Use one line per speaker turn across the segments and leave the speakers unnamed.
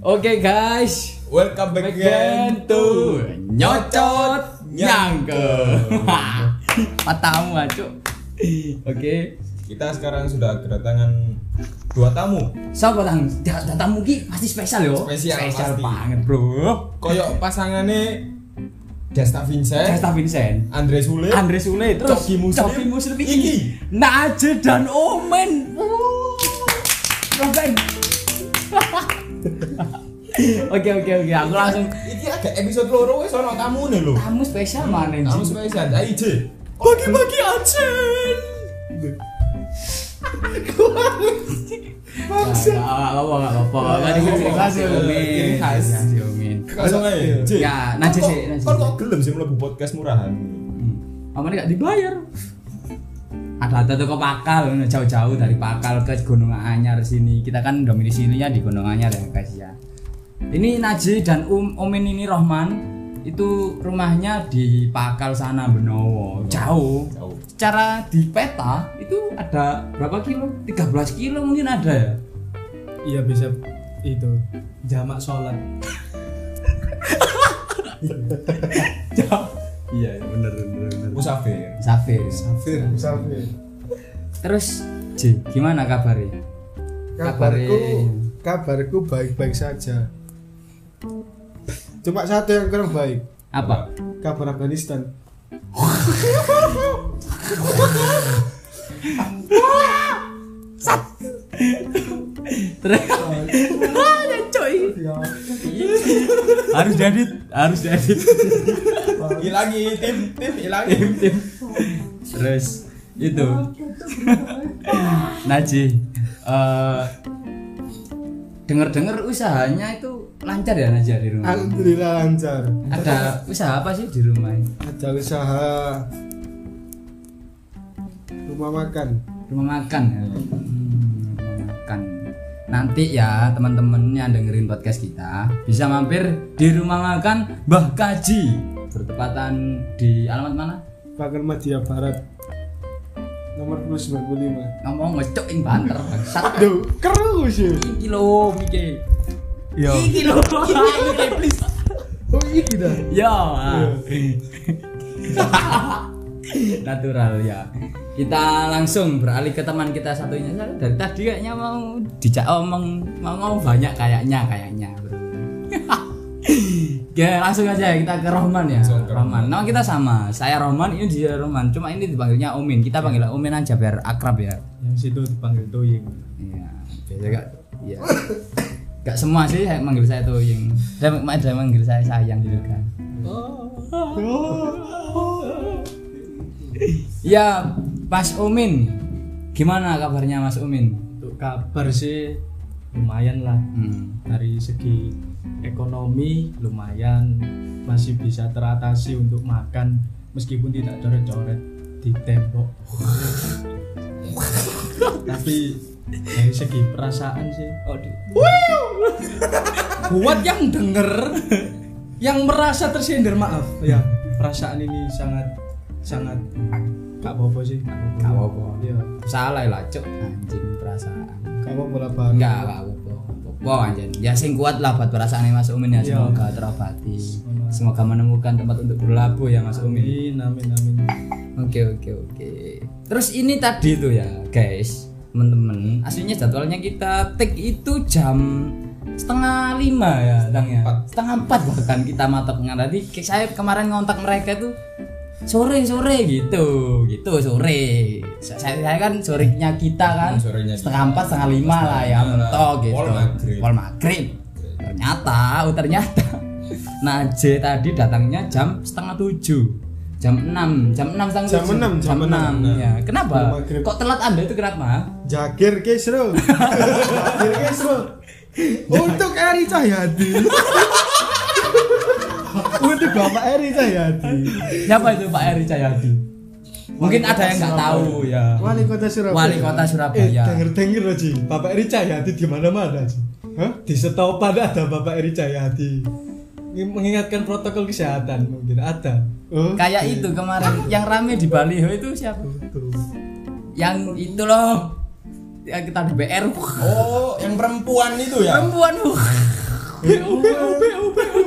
Oke guys,
Welcome back,
Back
again
again
to
to
Nyocot Nyangke.
patamu acu. Oke,
Kita sekarang sudah kedatangan dua tamu.
siapa datang? Dat- Datang mungkin pasti spesial yo.
Spesial, pasti.
banget bro.
Koyok pasangannya Desta Vincent,
Cesta Vincent,
Andre Sule.
Andre Sule, terus
Coki Muslim.
Coki Muslim
Iki.
iki, Najee dan Omen. Wuh. Keren. Oke oke oke, aku langsung
Iki agak episode loro wis ana tamu nih lho.
tamu spesial mana ini?
Tamu spesial AIJ.
Bagi-bagi acen. Bangsa. Apa apa apa
Terima kasih, Omin.
Terima kasih Omin.
Langsung ae. J.
Ya, Najee sih, Najee.
Kon kok gelem sih mlebu podcast murahan.
Aman Hmm. gak dibayar. Ada-ada tuh ke Pakal, jauh-jauh dari Pakal ke Gunung Anyar sini. Kita kan domisilinya di Gunung Anyar ya guys ya. Ini Najee dan Um Omin ini Rohman itu rumahnya di Pakal sana Benowo, jauh.
Jauh.
secara di peta itu ada berapa kilo? 13 kilo mungkin ada ya.
Iya bisa itu jamak sholat.
Iya, bener bener bener.
Musafir.
Safir.
Safir, Safir.
Terus J, gimana kabarnya?
Kabarku,
Kabarin.
kabarku baik-baik saja. Cuma satu yang kurang baik,
Apa?
kabar Afghanistan.
Terus Ya, coy.
Ya,
Harus jadi harus jadi.
Ilangi tim tim ilangi.
Terus itu. Najih. Eh Dengar-dengar usahanya itu lancar ya Najih di rumah.
Alhamdulillah lancar.
Ada usaha apa sih di rumah ini?
Ada usaha rumah makan.
rumah makan ya. Hmm, rumah makan nanti ya teman-teman yang dengerin podcast kita bisa mampir di rumah makan Mbah Kaji bertepatan di alamat mana
Pakar Media Barat. Nomor 95.
ngomong ngecokin banter bangsat
Duh, keru sih.
iki lho iki yo iki lho iki please
Oh iya kita.
yo ah. natural ya kita langsung beralih ke teman kita satunya Soalnya dari tadi kayaknya mau dijak omong mau ngomong banyak kayaknya kayaknya bro. Oke langsung aja kita ke Rohman ya
Langsung ke
Rohman nama kita sama saya Rohman ini dia Rohman cuma ini dipanggilnya Omin kita panggil Omin aja biar akrab ya
Yang situ dipanggil toying.
Iya, biasa gak iya gak semua sih yang manggil saya tuh yang saya ada yang manggil saya sayang juga kan ya Mas Umin gimana kabarnya Mas Umin
Untuk kabar sih lumayan lah
hmm.
dari segi ekonomi lumayan masih bisa teratasi untuk makan meskipun tidak coret-coret di tembok. Tapi dari segi perasaan sih
buat yang denger
yang merasa tersindir maaf ya perasaan ini sangat sangat gak bobo sih
Gak apa-apa.
Iya.
salah lah cuk anjing perasaan
Kamu bola baru.
enggak enggak apa Wow anjing, ya sing kuat lah buat perasaan Mas Umin ya
Iya.
semoga terobati. Semoga menemukan tempat untuk berlabuh ya Mas Umin.
amin amin amin
Oke oke oke. Terus ini tadi tuh ya guys, temen-temen. Aslinya jadwalnya kita take itu jam setengah lima ya, Dang ya. Setengah empat bahkan kita mata pengen tadi. kayak Saya kemarin ngontak mereka tuh sore sore gitu, gitu sore. Sa- Saya, saya kan sorenya kita kan
Hmm, sorenya
setengah empat setengah lima lah ya,
lima lah.
mentok gitu.
Wal maghrib.
Wal maghrib. Ternyata, oh ternyata. Nah, J tadi datangnya jam setengah tujuh jam 6 jam 6 setengah
Jam
tujuh.
enam, jam enam.
enam, ya kenapa
Belum maghrib.
kok telat anda itu kenapa
Jakir Kisro. Jakir Kisro. Untuk Eri Cahyadi. Untuk Bapak Eri Cahyadi.
siapa itu Pak Eri Cahyadi mungkin ada yang nggak tahu ya
Wali Kota Surabaya.
Wali Kota Surabaya.
Eh, denger denger loh Ji. Bapak Eri Cahyadi di mana-mana Ji. Hah? Di setopan ada Bapak Eri Cahyadi.
mengingatkan protokol kesehatan mungkin ada
Oh,
kayak itu kemarin yang rame di Baliho itu siapa
tuh.
yang itu loh yang kita di BR
Oh, yang perempuan itu ya.
perempuan wuh.
PU PU PU PU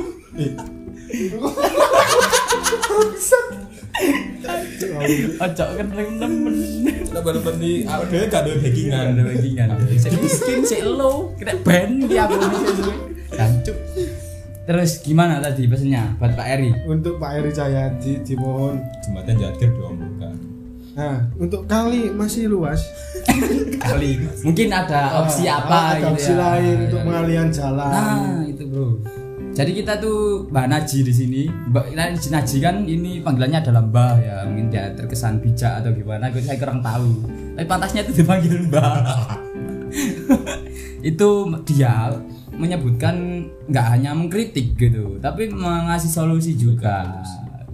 Ojo kan temen
Lebar-lebar di ah, dia gak ada backingan.
ada bajingan Sik miskin sik lo kena band
Iya,
dia aku ini sik suwe. Jancuk. terus gimana tadi pesennya buat Pak Eri
Untuk Pak Eri Cahyadi dimohon
Jembatan Jatgir diombongkan.
Nah, untuk kali masih luas.
kali mungkin ada opsi
Ah,
apa
ada
gitu
opsi
ya.
lain untuk
Ya.
pengalian jalan.
Nah, itu bro. Jadi kita tuh Mbak Naji di sini. Mbak Naji Naji kan ini panggilannya adalah Mbah ya. Mungkin dia terkesan bijak atau gimana, gue- saya kurang tahu. Tapi pantasnya itu dipanggil Mbah. itu dia menyebutkan nggak hanya mengkritik gitu, tapi mengasih solusi juga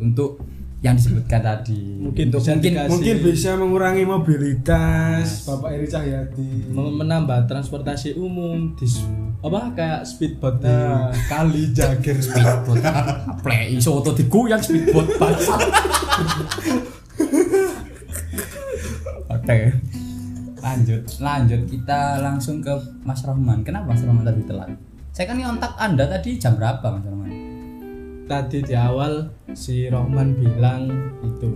untuk yang disebutkan tadi.
Mungkin
untuk
bisa
mungkin
dikasih-
Mungkin bisa mengurangi mobilitas Bapak Eri Cahyadi.
Mem- menambah transportasi umum di s- apa kayak speedboat di
Nah, kali Jagir.
speedboat. Play iso otot digoyang speedboat bangsat. Oke. Lanjut, lanjut kita langsung ke Mas Rahman. Kenapa Mas Rahman tadi telat? Saya kan kontak Anda tadi jam berapa Mas Rahman?
tadi di awal si Rohman bilang itu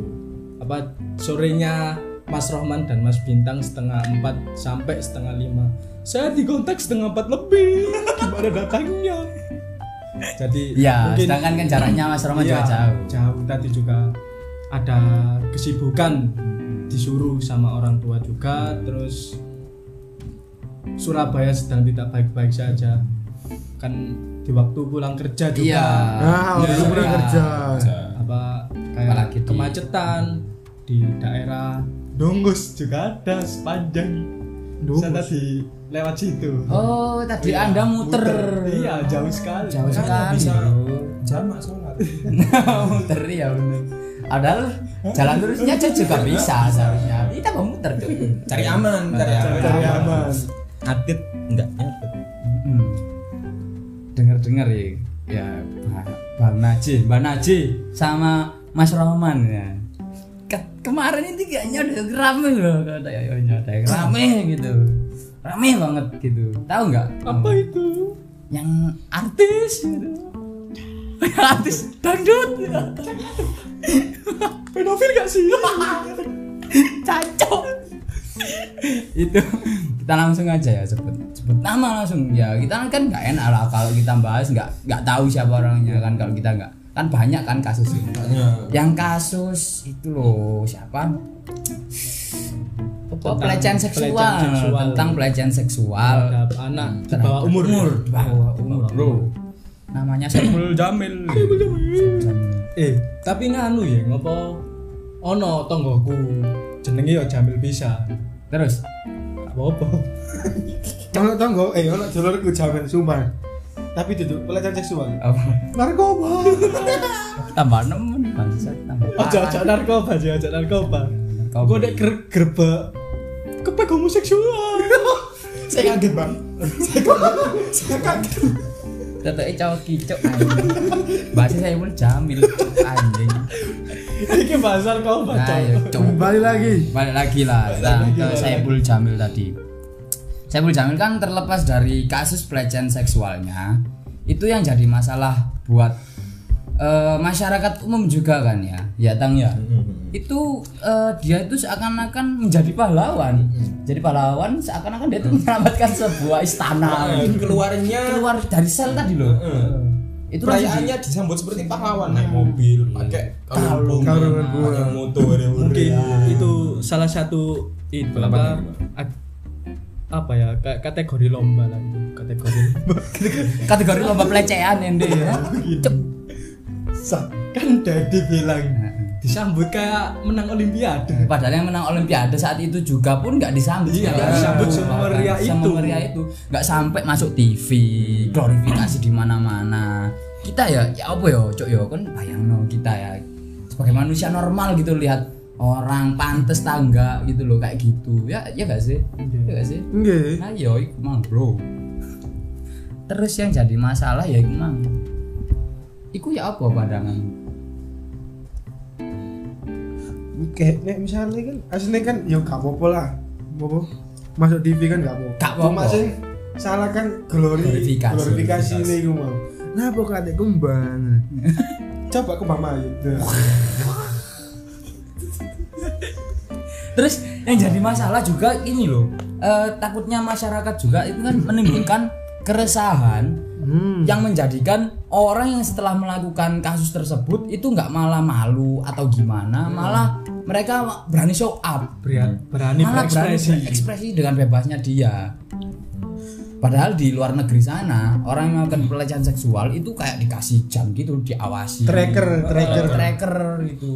apa sorenya Mas Rohman dan Mas Bintang setengah empat sampai setengah lima saya dikontak setengah empat lebih gimana datangnya jadi
Iya,
mungkin
sedangkan kan jaraknya Mas Rahman
Iya,
juga jauh.
jauh tadi juga ada kesibukan disuruh sama orang tua juga terus Surabaya sedang tidak baik-baik saja kan di waktu pulang kerja juga
Iya.
ya,
Nah, waktu
Iya,
pulang
iya.
kerja.
apa kayak
Apalagi di-
kemacetan di daerah
Dungus juga ada sepanjang
Dungus.
Saya tadi lewat situ.
Oh, tadi Anda muter.
Iya, jauh sekali.
Jauh sekali.
bisa.
bro.
Jamak sholat.
muter ya bener padahal jalan lurusnya aja juga bisa seharusnya kita mau muter tuh
Cari aman, cari aman.
Cari aman.
Atit enggak atit.
dengar dengar ya ya Ba- bang Naji bang Naji sama Mas Rohman ya Ke- kemarin ini kayaknya udah rame loh kata ya ya, udah rame gitu rame banget gitu tahu nggak apa itu yang artis gitu artis dangdut pedofil gak sih cacok itu kita langsung aja ya sebut sebut nama langsung ya kita kan nggak enak lah kalau kita bahas nggak nggak tahu siapa orangnya kan kalau kita nggak kan banyak kan kasus ini
Iya,
yang kasus itu loh siapa Apa, pelecehan seksual,
pelecehan seksual.
tentang pelecehan seksual
terhadap anak di bawah umur
di bawah Nah, umur bro namanya Saiful Jamil Saiful Jamil
eh tapi nganu ya ngopo ono tonggoku jenenge ya Jamil bisa
terus
apa apa
Ono tanggo eh ono dulurku jamin sumpah. Tapi duduk pelecehan seksual.
apa
Narkoba.
tambah nemen bangsat tambah
ojo ojo narkoba ojo ojo Ah. narkoba iya.
Narkoba.
gue dek ger- gerbek kepek homoseksual
Saya kaget, Bang. Saya kaget. Saya kaget.
Tetek coki cok e anjing. Bahasa saya pun jamil cok anjing.
ini bahasa narkoba
Nah, ya,
coy.
cok.
Kembali lagi.
Balik lagi lah. Nah, ke Saiful Jamil tadi. Saiful Jamil kan terlepas dari kasus pelecehan seksualnya, itu yang jadi masalah buat eh, masyarakat umum juga kan ya. Ya Tang ya.
Hmm.
Itu eh, dia itu seakan-akan menjadi pahlawan. Jadi pahlawan seakan-akan dia itu menyelamatkan sebuah istana.
Nah, Mm-hmm. Keluarnya
Nah, Keluar dari sel tadi loh.
Mm-hmm.
Itu langsung di-
perayaannya disambut seperti pahlawan naik mobil pakai kalung
Kalungan bunga.
pakai motor ya,
mungkin itu salah satu itu apa, ag- apa ya kayak kategori lomba lah itu kategori lomba
kategori lomba pelecehan ende ya. Cep.
Sa- Kan Daddy bilang
disambut kayak menang olimpiade
Padahal yang menang Olimpiade saat itu juga pun nggak disambut. Iya,
disambut semeriah itu.
itu nggak sampai masuk TV, glorifikasi di mana-mana. Kita ya, ya apa ya, cok ya, kan bayangno kita ya sebagai manusia normal gitu lihat orang pantes tangga gitu loh kayak gitu ya ya gak sih ya gak sih
Nggih.
ayo iku mang bro terus yang jadi masalah ya iku mang iku ya apa pandangan
Oke, nek misalnya kan aslinya kan ya gak apa-apa lah. Apa? Masuk TV kan gak apa-apa.
Gak apa-apa.
Cuma sing salah kan glori
Glorifikasi.
glorifikasi ini gue mau nah pokoknya kembang coba kembang mayu Nah.
Terus yang jadi masalah juga ini loh. eh, takutnya masyarakat juga itu kan menimbulkan keresahan
Hmm.
yang menjadikan orang yang setelah melakukan kasus tersebut itu nggak malah malu atau gimana, malah mereka berani show up,
Hmm. berani
malah berani
Nah, berekspresi.
ekspresi dengan bebasnya dia. Padahal di luar negeri sana orang yang melakukan pelecehan seksual itu kayak dikasih jam gitu, diawasi.
tracker
tracker
tracker
tracker itu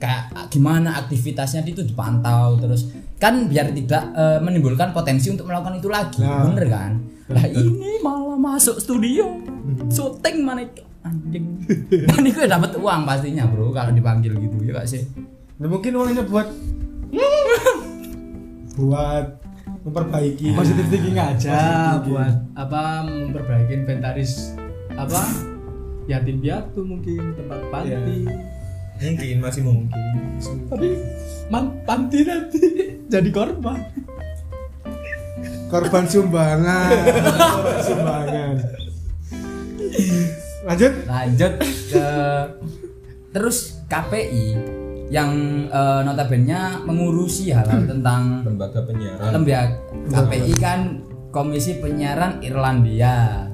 kayak ah, gimana aktivitasnya itu dipantau terus kan biar tidak eh, menimbulkan potensi untuk melakukan itu lagi bener kan lah ini malah masuk studio syuting mana itu anjing dan itu ya dapat uang pastinya bro kalau dipanggil gitu ya gak sih
Nah, mungkin uangnya buat buat memperbaiki
positif thinking aja Ya, buat apa memperbaiki inventaris apa yatim piatu mungkin tempat panti
mungkin masih mungkin
tapi man panti nanti jadi korban
korban sumbangan korban sumbangan lanjut
lanjut ke terus KPI yang eh, notabene mengurusi hal-hal tentang
lembaga
Hmm.
penyiaran
lembaga KPI kan Komisi Penyiaran Irlandia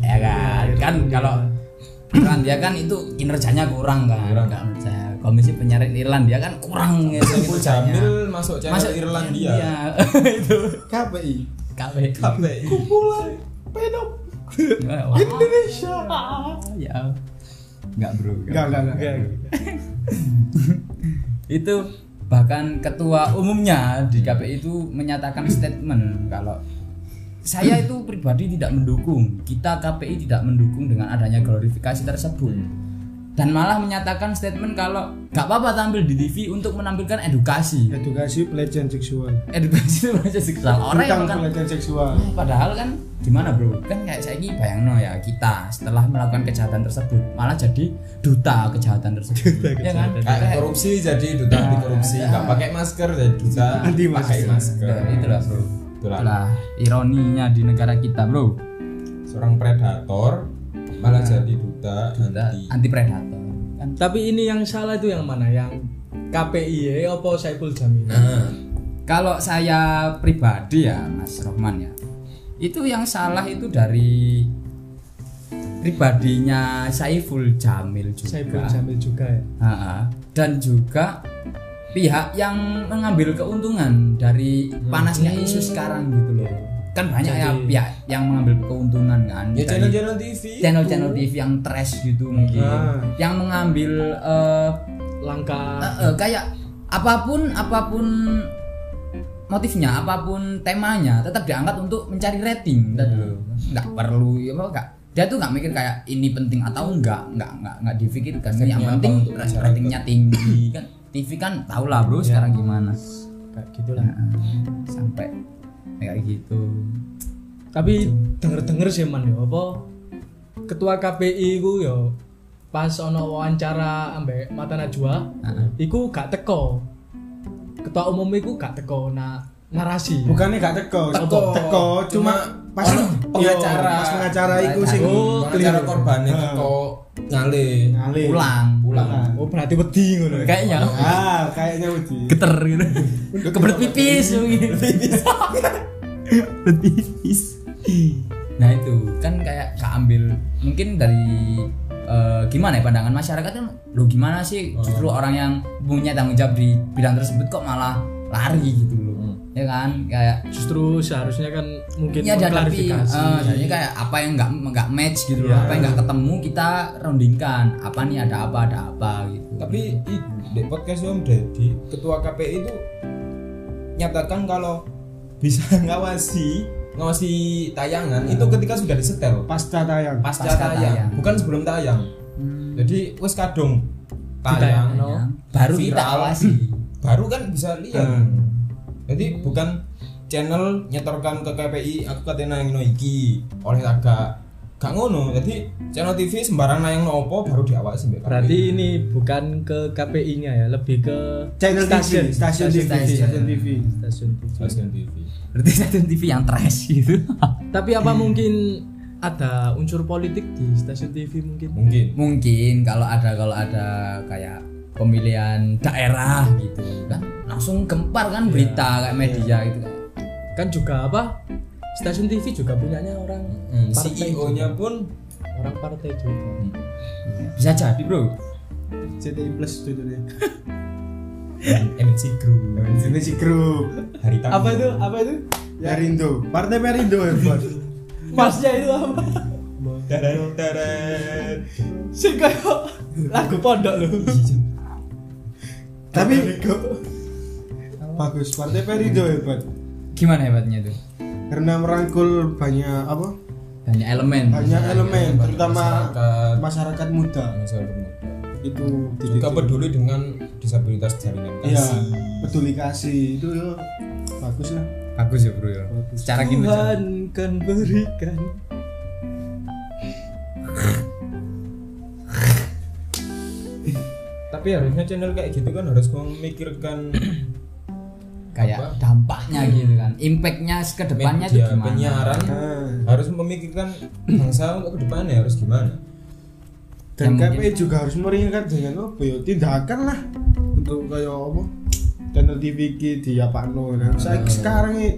ya kan kan kalau Irlandia kan itu kinerjanya kurang kan
Kurang.
Nggak kerja. Komisi Penyiaran Irlandia kan kurang gitu
Saiful
kinerjanya.
Jamil masuk channel
Masuk
Irlandia
Iya, itu
KPI
KPI
KPI
Wah,
Indonesia
ya nggak bro nggak.
enggak enggak enggak
itu bahkan ketua umumnya di KPI itu menyatakan statement kalau saya itu pribadi tidak mendukung kita KPI tidak mendukung dengan adanya glorifikasi tersebut dan malah menyatakan statement kalau gak apa-apa tampil di TV untuk menampilkan edukasi
edukasi pelecehan seksual
edukasi itu bahasa seksual orang yang
tentang
kan
pelecehan seksual
padahal kan gimana bro kan kayak saya ini bayangno ya kita setelah melakukan kejahatan tersebut malah jadi duta kejahatan tersebut ya kan
kayak
Kayak-
korupsi jadi duta anti korupsi nggak pakai masker jadi duta
Anti
pakai masker
Nah, itulah bro.
Itulah.
Itulah ironinya di negara kita bro.
seorang predator malah jadi duta, anti
Anti predator. Kan
tapi ini yang salah itu yang mana yang KPI ya apa Saiful Jamil
Ah.
Nah,
kalau saya pribadi ya Mas Rohman ya, itu yang salah itu dari pribadinya Saiful Jamil juga.
Saiful Jamil juga ya
Ha-ha. Dan juga pihak yang mengambil keuntungan dari
Hmm.
panasnya isu sekarang gitu loh.
Iya.
Kan banyak ya pihak yang mengambil keuntungan kan.
ya
dari-
channel-channel TV
channel-channel TV yang trash gitu mungkin
Ah.
yang mengambil eh,
langkah
eh, eh, kayak apapun apapun motifnya apapun temanya tetap diangkat untuk mencari rating Tadi loh.
Iya.
nggak perlu ya apa nggak dia tuh nggak mikir kayak ini penting atau enggak nggak nggak nggak difikirkan yang
apa
penting
untuk masyarakat?
ratingnya tinggi kan TV kan tau lah bro
Iya.
sekarang gimana Nah,
kayak gitulah
sampai kayak gitu
tapi denger-denger sih man ya apa ketua KPI ku yo pas ono wawancara ambek Mata Najwa iku gak teko ketua umum iku gak teko na narasi
bukannya gak teko
Teko.
teko cuma pas
orang pengacara.
Iya, pas pengacara itu sih
oh cara korbannya
Ah.
teko ngale
Ngalih.
pulang pulang
oh berarti wedi ngono ya
kayaknya
ah kayaknya uji
geter gitu kebelet pipis gitu. Kebelet pipis nah itu kan kayak keambil mungkin dari eh, gimana ya pandangan masyarakat kan lu gimana sih justru orang yang punya tanggung jawab di bidang tersebut kok malah lari gitu loh ya kan kayak
justru seharusnya kan mungkin
ya dihadapi
mengklarifikasi.
Eh, jadi kayak apa yang nggak nggak match gitu loh apa yang nggak ketemu kita roundingkan apa nih ada apa ada apa gitu
tapi i- di podcast Om Deddy ketua KPI itu nyatakan kalau bisa ngawasi ngawasi tayangan itu ketika sudah disetel
pasca tayang
pasca,
Pasca
tayang.
tayang.
bukan sebelum tayang jadi wes kadung tayang no,
Ya. baru kita
viral,
awasi
baru kan bisa lihat jadi bukan channel nyetorkan ke KPI aku katena yang iki oleh agak gak ngono jadi channel TV sembarang nayang opo baru diawasi mbek
Berarti
KPI.
ini bukan ke KPI-nya ya, lebih ke
Channel
stasiun,
TV, stasiun TV, stasiun TV.
Stasiun TV.
stasiun TV
berarti stasiun TV yang trash gitu
Tapi apa mungkin ada unsur politik di stasiun TV mungkin?
mungkin
mungkin kalau ada kalau ada kayak pemilihan daerah gitu kan langsung gempar kan berita kayak media gitu kan
Kan juga apa? Stasiun TV juga punyanya orang
Hmm,
partai
CEO-nya
juga.
pun
orang partai juga.
bisa jadi bro
CTI Plus judulnya.
MNC Group
Ini si grup.
Haritano
Apa itu? Apa itu?
Perindo. Partai Perindo ya, Bos.
Masnya itu apa?
Teren, teren.
Sing kayak lagu pondok loh.
Tapi bagus Partai Perindo
Hmm.
hebat.
gimana hebatnya tuh
Karena merangkul banyak apa?
banyak elemen
Banyak elemen,
Hmm. banyak
terutama
masyarakat.
masyarakat muda.
Masalah bermuda.
Itu
juga
dididik.
peduli dengan disabilitas jaringan
Iya,
kasih
peduli kasih itu ya bagus lah.
bagus ya bro ya secara kinerja
Tuhan kan berikan.
tapi harusnya channel kayak gitu kan harus memikirkan
kayak
Apa?
dampaknya gitu kan impactnya ke depannya tuh
media
gimana
penyiaran
Nah,
harus memikirkan bangsa untuk kedepannya harus gimana
dan
Ya,
KPI juga harus meringankan dengan apa ya tindakan lah untuk kayak apa channel TV ki di apa no nah,
Hmm.
saya sekarang ini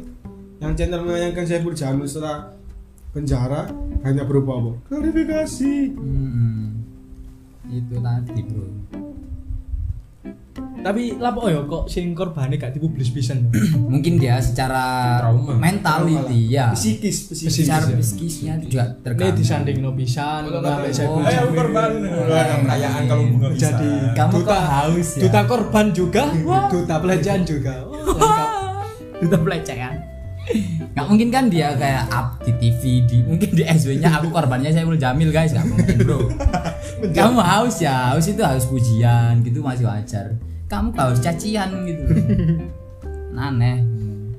yang channel menayangkan saya Jamil setelah penjara hanya berupa apa klarifikasi
Hmm. itu tadi bro
Tapi lapo ya kok sing korbane gak dipublis pisan.
mungkin dia secara
Trauma.
mentality ya
psikis psikis
secara
ya.
psikisnya juga
Nek
terganggu
disandingno pisan, sampai saya
Oh,
Eh, aku korban perayaan kalau bunga bisa
Jadi
Kamu
duta,
kok haus ya?
Duta korban juga, Iya. duta pelecehan juga. Wah, lengkap.
itu pelecehan nggak mungkin kan dia kayak up di TV di mungkin di SW nya aku korbannya Saiful Jamil guys nggak mungkin bro kamu haus ya haus itu haus pujian gitu masih wajar kamu nggak haus cacian gitu aneh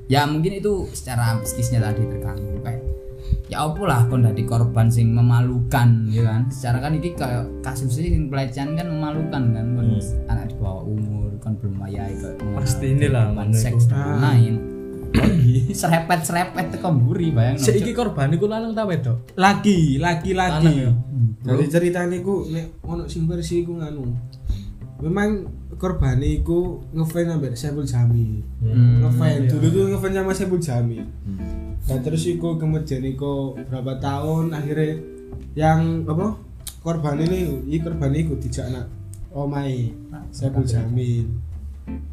ya mungkin itu secara psikisnya tadi terganggu kayak ya opo lah kon dadi korban sing memalukan ya kan secara kan ini kayak kasusnya sing pelecehan kan memalukan kan kon anak di bawah umur kon belum wayahe kayak mengenal
Hmm. Pasti inilah
kehidupan
ngono
seks dan lain-lain serepet serepet tekan buri bayang
Seiki korban iku lanang ta wedok?
laki laki laki
Lanang ya?
dari ceritanya ku nek ono sing versi ku nganu memang korban iku ngefans sampai Saiful Jamil ngefans dulu tuh ngefans sama Saiful Jamil dan terus iku kemudian iku berapa tahun akhirnya yang apa korban ini i korban iku dijak nak omai Saiful Jamil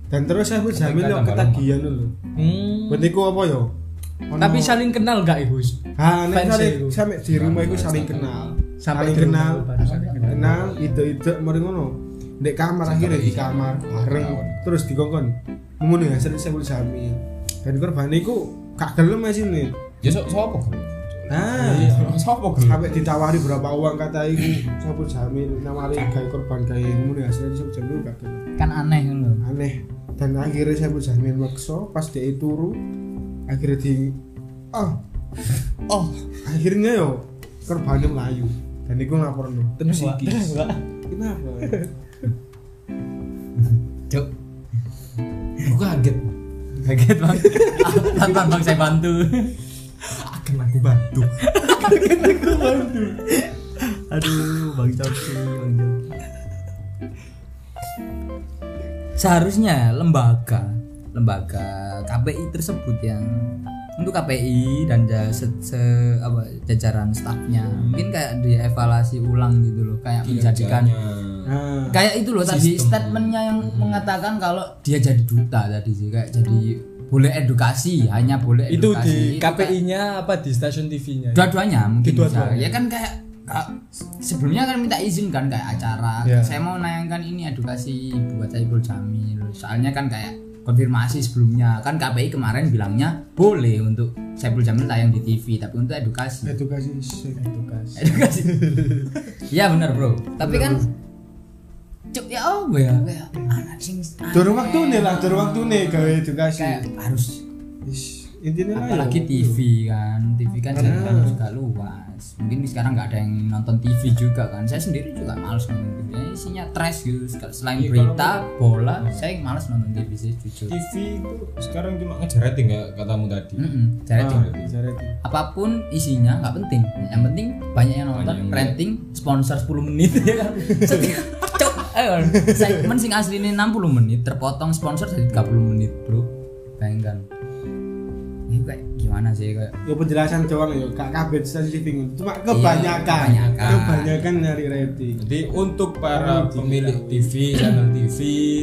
dan terus Saiful Jamil yo ketagihan lho
Hmm.
ben iku apa yo Ono-
Tapi saling kenal gak ibu?
Ah, nek
fans
sampe-
iku.
sampe di rumah iku saling kenal.
Sampai
Saling
di rumah
kenal,
iku baru saling kenal.
kenal, itu-itu mari ngono. Ndek kamar akhirnya di kamar bareng terus dikongkon. Ngono ya sering saya jamin. Dan korban iku gak gelem ae sini.
ya so so apa
Nah,
Sopo gelem?
sampai ditawari berapa uang kata iku saya jamin nawari gawe korban gawe ngono ya sering saya jamin gak gelem.
kan aneh kan lho
aneh dan akhirnya saya berjamin makso pas dia turu akhirnya di oh oh akhirnya yo korbannya melayu dan itu lapor nih
Terus Wak. Terus, Wak.
kenapa
cuk aku kaget kaget bang tanpa bang saya bantu akan aku bantu akan aku bantu aduh bang Coki bang Coki seharusnya lembaga lembaga KPI tersebut yang untuk KPI dan ja- se, se- apa, jajaran stafnya mungkin kayak dievaluasi ulang gitu loh kayak menjadikan
nah
kayak itu loh tadi statementnya yang mengatakan kalau Hmm. Hmm. dia jadi duta tadi sih kayak jadi boleh edukasi hanya boleh
Itu
edukasi
di
Itu kayak-
KPI-nya apa di stasiun TV-nya?
dua-duanya mungkin
Di
bisa
dua-duanya.
ya kan kayak ah, sebelumnya kan minta izin kan kayak acara
Iya.
saya mau nayangkan ini edukasi buat Saiful Jamil soalnya kan kayak konfirmasi sebelumnya kan KPI kemarin bilangnya boleh untuk Saiful Jamil tayang di TV tapi untuk edukasi
edukasi sih.
Edukasi.
Nah. edukasi iya benar bro tapi kan cuk ya apa ya kayak anak sing
Durung waktu nih lah, durung waktu nih gawe edukasi.
kayak harus
Ish. intinya lah ya.
apalagi TV kan TV kan
Karena-
jaringan juga luas mungkin sekarang nggak ada yang nonton TV juga kan saya sendiri juga males nonton TV Ya, isinya trash gitu Sekal- selain
Iya,
berita bola saya yang males nonton TV sih jujur
TV itu sekarang cuma ngejar rating ya katamu tadi
Mm-mm, saya
Ah,
tuh
bicara itu.
apapun isinya nggak penting yang penting banyak yang nonton
Banyak yang
rating sponsor 10 menit ya kan Setiap- cok ayo segmen sing asli ini 60 menit terpotong sponsor jadi 30 menit bro bayangkan ini kayak gimana sih kayak
ya penjelasan doang ya gak kabeh sensitif cuma kebanyakan
Iya, kebanyakan.
kebanyakan nyari rating
Jadi untuk para pemilik TV, channel TV,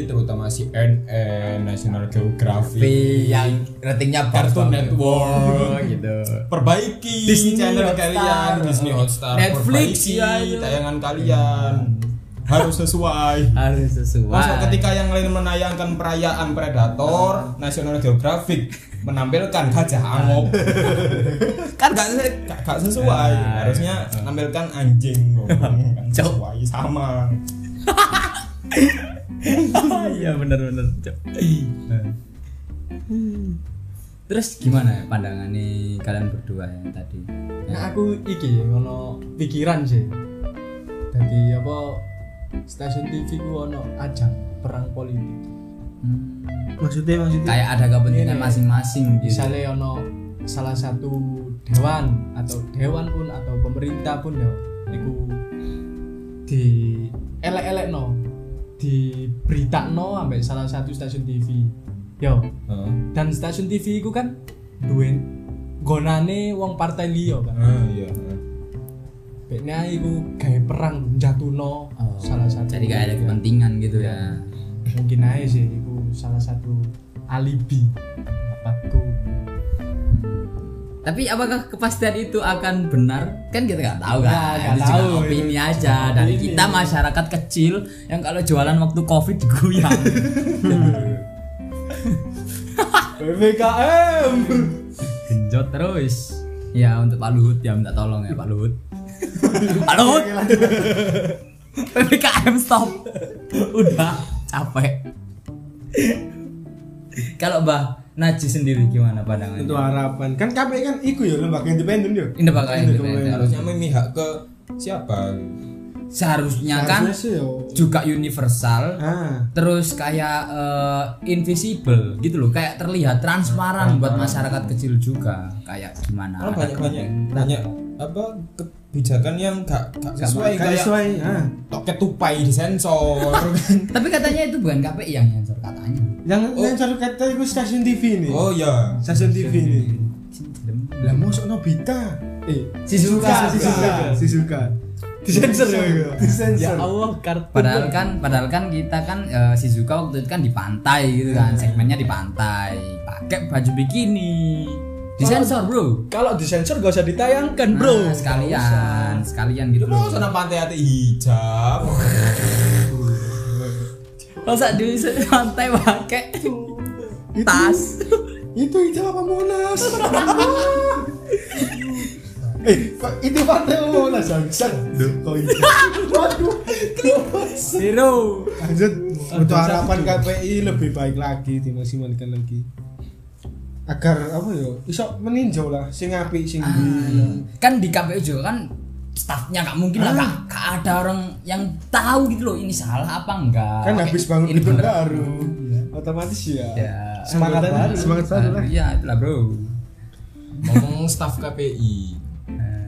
terutama CNN, National Geographic,
tapi yang ratingnya
Cartoon
bagus.
Network,
gitu
perbaiki
Disney
channel
Hotstar.
kalian, Disney Hotstar,
Netflix,
perbaiki
ya, ya. Hmm.
tayangan kalian harus sesuai.
harus sesuai
Masuk ketika yang lain menayangkan
Hmm.
perayaan Predator, National Geographic menampilkan gajah angop.
Hmm.
kan gak, se- gak- gak sesuai.
Nah,
Harusnya menampilkan anjing. Kan
Cok.
sesuai sama.
iya benar benar terus gimana ya pandangannya kalian berdua yang tadi Ya.
Nah, aku iki ngono pikiran sih. Dadi apa stasiun TV ku ono ajang perang politik.
Hmm,
maksudnya maksudnya
kayak ada kepentingan
Iya.
Ini.
masing-masing gitu
Misalnya ono salah satu dewan atau dewan pun atau pemerintah pun ya niku di elek-elek no di berita no ambek salah satu stasiun TV yo
Heeh.
Hmm.
dan stasiun TV ku kan duwe gonane wong partai liya kan
Ah, iya. heeh.
Beknya iku gawe perang jatuh no
Oh,
salah satu ya.
jadi kayak ada kepentingan gitu
Iya.
ya
mungkin aja sih itu salah satu alibi bapakku
tapi apakah kepastian itu akan benar kan kita nggak tahu kan
Nggak, nggak
Ini cuma
tahu.
opini aja dari
Opini.
kita masyarakat kecil yang kalau jualan waktu covid digoyang
PPKM
genjot terus ya untuk Pak Luhut ya minta tolong ya Pak Luhut Pak Luhut PPKM stop udah capek kalau Mbah Najis sendiri gimana pandangannya?
untuk harapan kan KPI kan iku ya lembaga independen yo
Ini bakal independen.
Harusnya memihak ke siapa?
Seharusnya kan
Harusnya sih yo
juga universal
ah
terus kayak eh, invisible gitu loh kayak terlihat transparan buat masyarakat kecil juga kayak gimana ada
Karena Oh, banyak banyak
kepentingan.
banyak apa kebijakan yang gak, gak sesuai
gak
kayak
sesuai ah
tok ketupai disensor kan.
tapi katanya itu bukan KPI yang nyensor katanya
jangan yang satu kata itu stasiun TV ini
Oh
iya.
ya.
stasiun TV ini lah masuk Nobita eh
Shizuka.
Shizuka Shizuka disensor ya itu disensor
Allah kartu
padahal kan padahal kan kita kan eh, Shizuka waktu itu kan di pantai gitu kan segmennya di pantai pakai baju bikini disensor bro
kalau disensor gak usah ditayangkan Kan, bro
Nah, sekalian sekalian gitu
Lu
loh
kan, sana pantai hati hijab.
masa di pantai pakai tas
itu itu apa Monas eh kok itu pantai Monas Jangsel kok itu waduh
zero
lanjut untuk harapan KPI lebih baik lagi dimaksimalkan lagi agar apa ya bisa meninjau lah sing apik sing iya.
Ah, kan di KPU juga kan staffnya nggak mungkin lah
Ah.
nggak nggak ada orang yang tahu gitu loh ini salah apa enggak
kan habis bangun
ini
gedung
bener
baru otomatis ya,
Ya.
semangat
Anggota
baru
baru.
semangat baru lah
iya itulah bro
Ngomong staf KPI.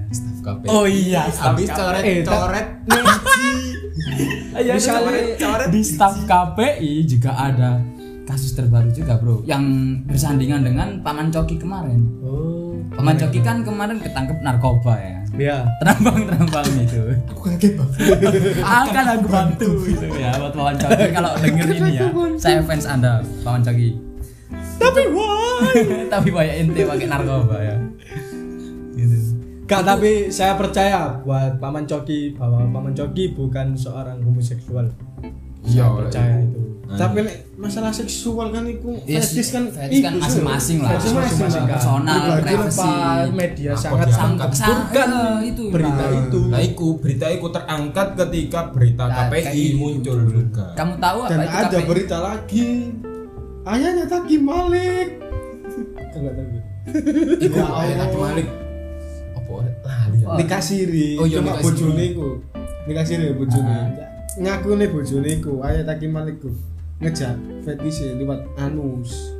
Staf KPI.
Oh iya, staf
habis
KPI.
coret-coret.
Ah, iya,
Ayo,
coret- coret.
di staff KPI juga ada kasus terbaru juga bro yang bersandingan dengan paman coki kemarin
oh
paman coki kan kemarin ketangkep narkoba ya
ya
terambang terambang itu aku kaget akan aku bantu itu ya buat Wawan Coki kalau denger ini ya saya fans anda Wawan Coki tapi why tapi banyak ente pakai narkoba ya Gitu.
Kak, tapi saya percaya buat Paman Coki bahwa Paman Coki bukan seorang homoseksual.
Iya,
Saya percaya
iya.
itu.
tapi nek masalah seksual kan iku
Nah. Yes,
fetish kan
fetish kan
iku,
masing-masing lah.
fetish masing-masing kan.
Masing-masing.
Personal,
Pribadi lah,
privacy.
Pak, media
Apa
sangat
dia
sangat
angkat?
bukan
Sangat, eh, itu,
berita
Pak.
itu.
Nah, iku berita iku terangkat ketika berita
Nah,
KPI
KPI.
muncul juga.
kamu tahu apa
dan
itu
ada
KPI?
berita lagi ayahnya Taki Malik Enggak tahu gue.
Iku ayo Hakim Malik. Apa lali. ya?
nikasiri
Oh, iya,
cuma
nikah siri.
bojone iku nikasiri bojone
Ah.
ngaku nih bojone iku ayo taki maliku ngejak fetishnya lewat anus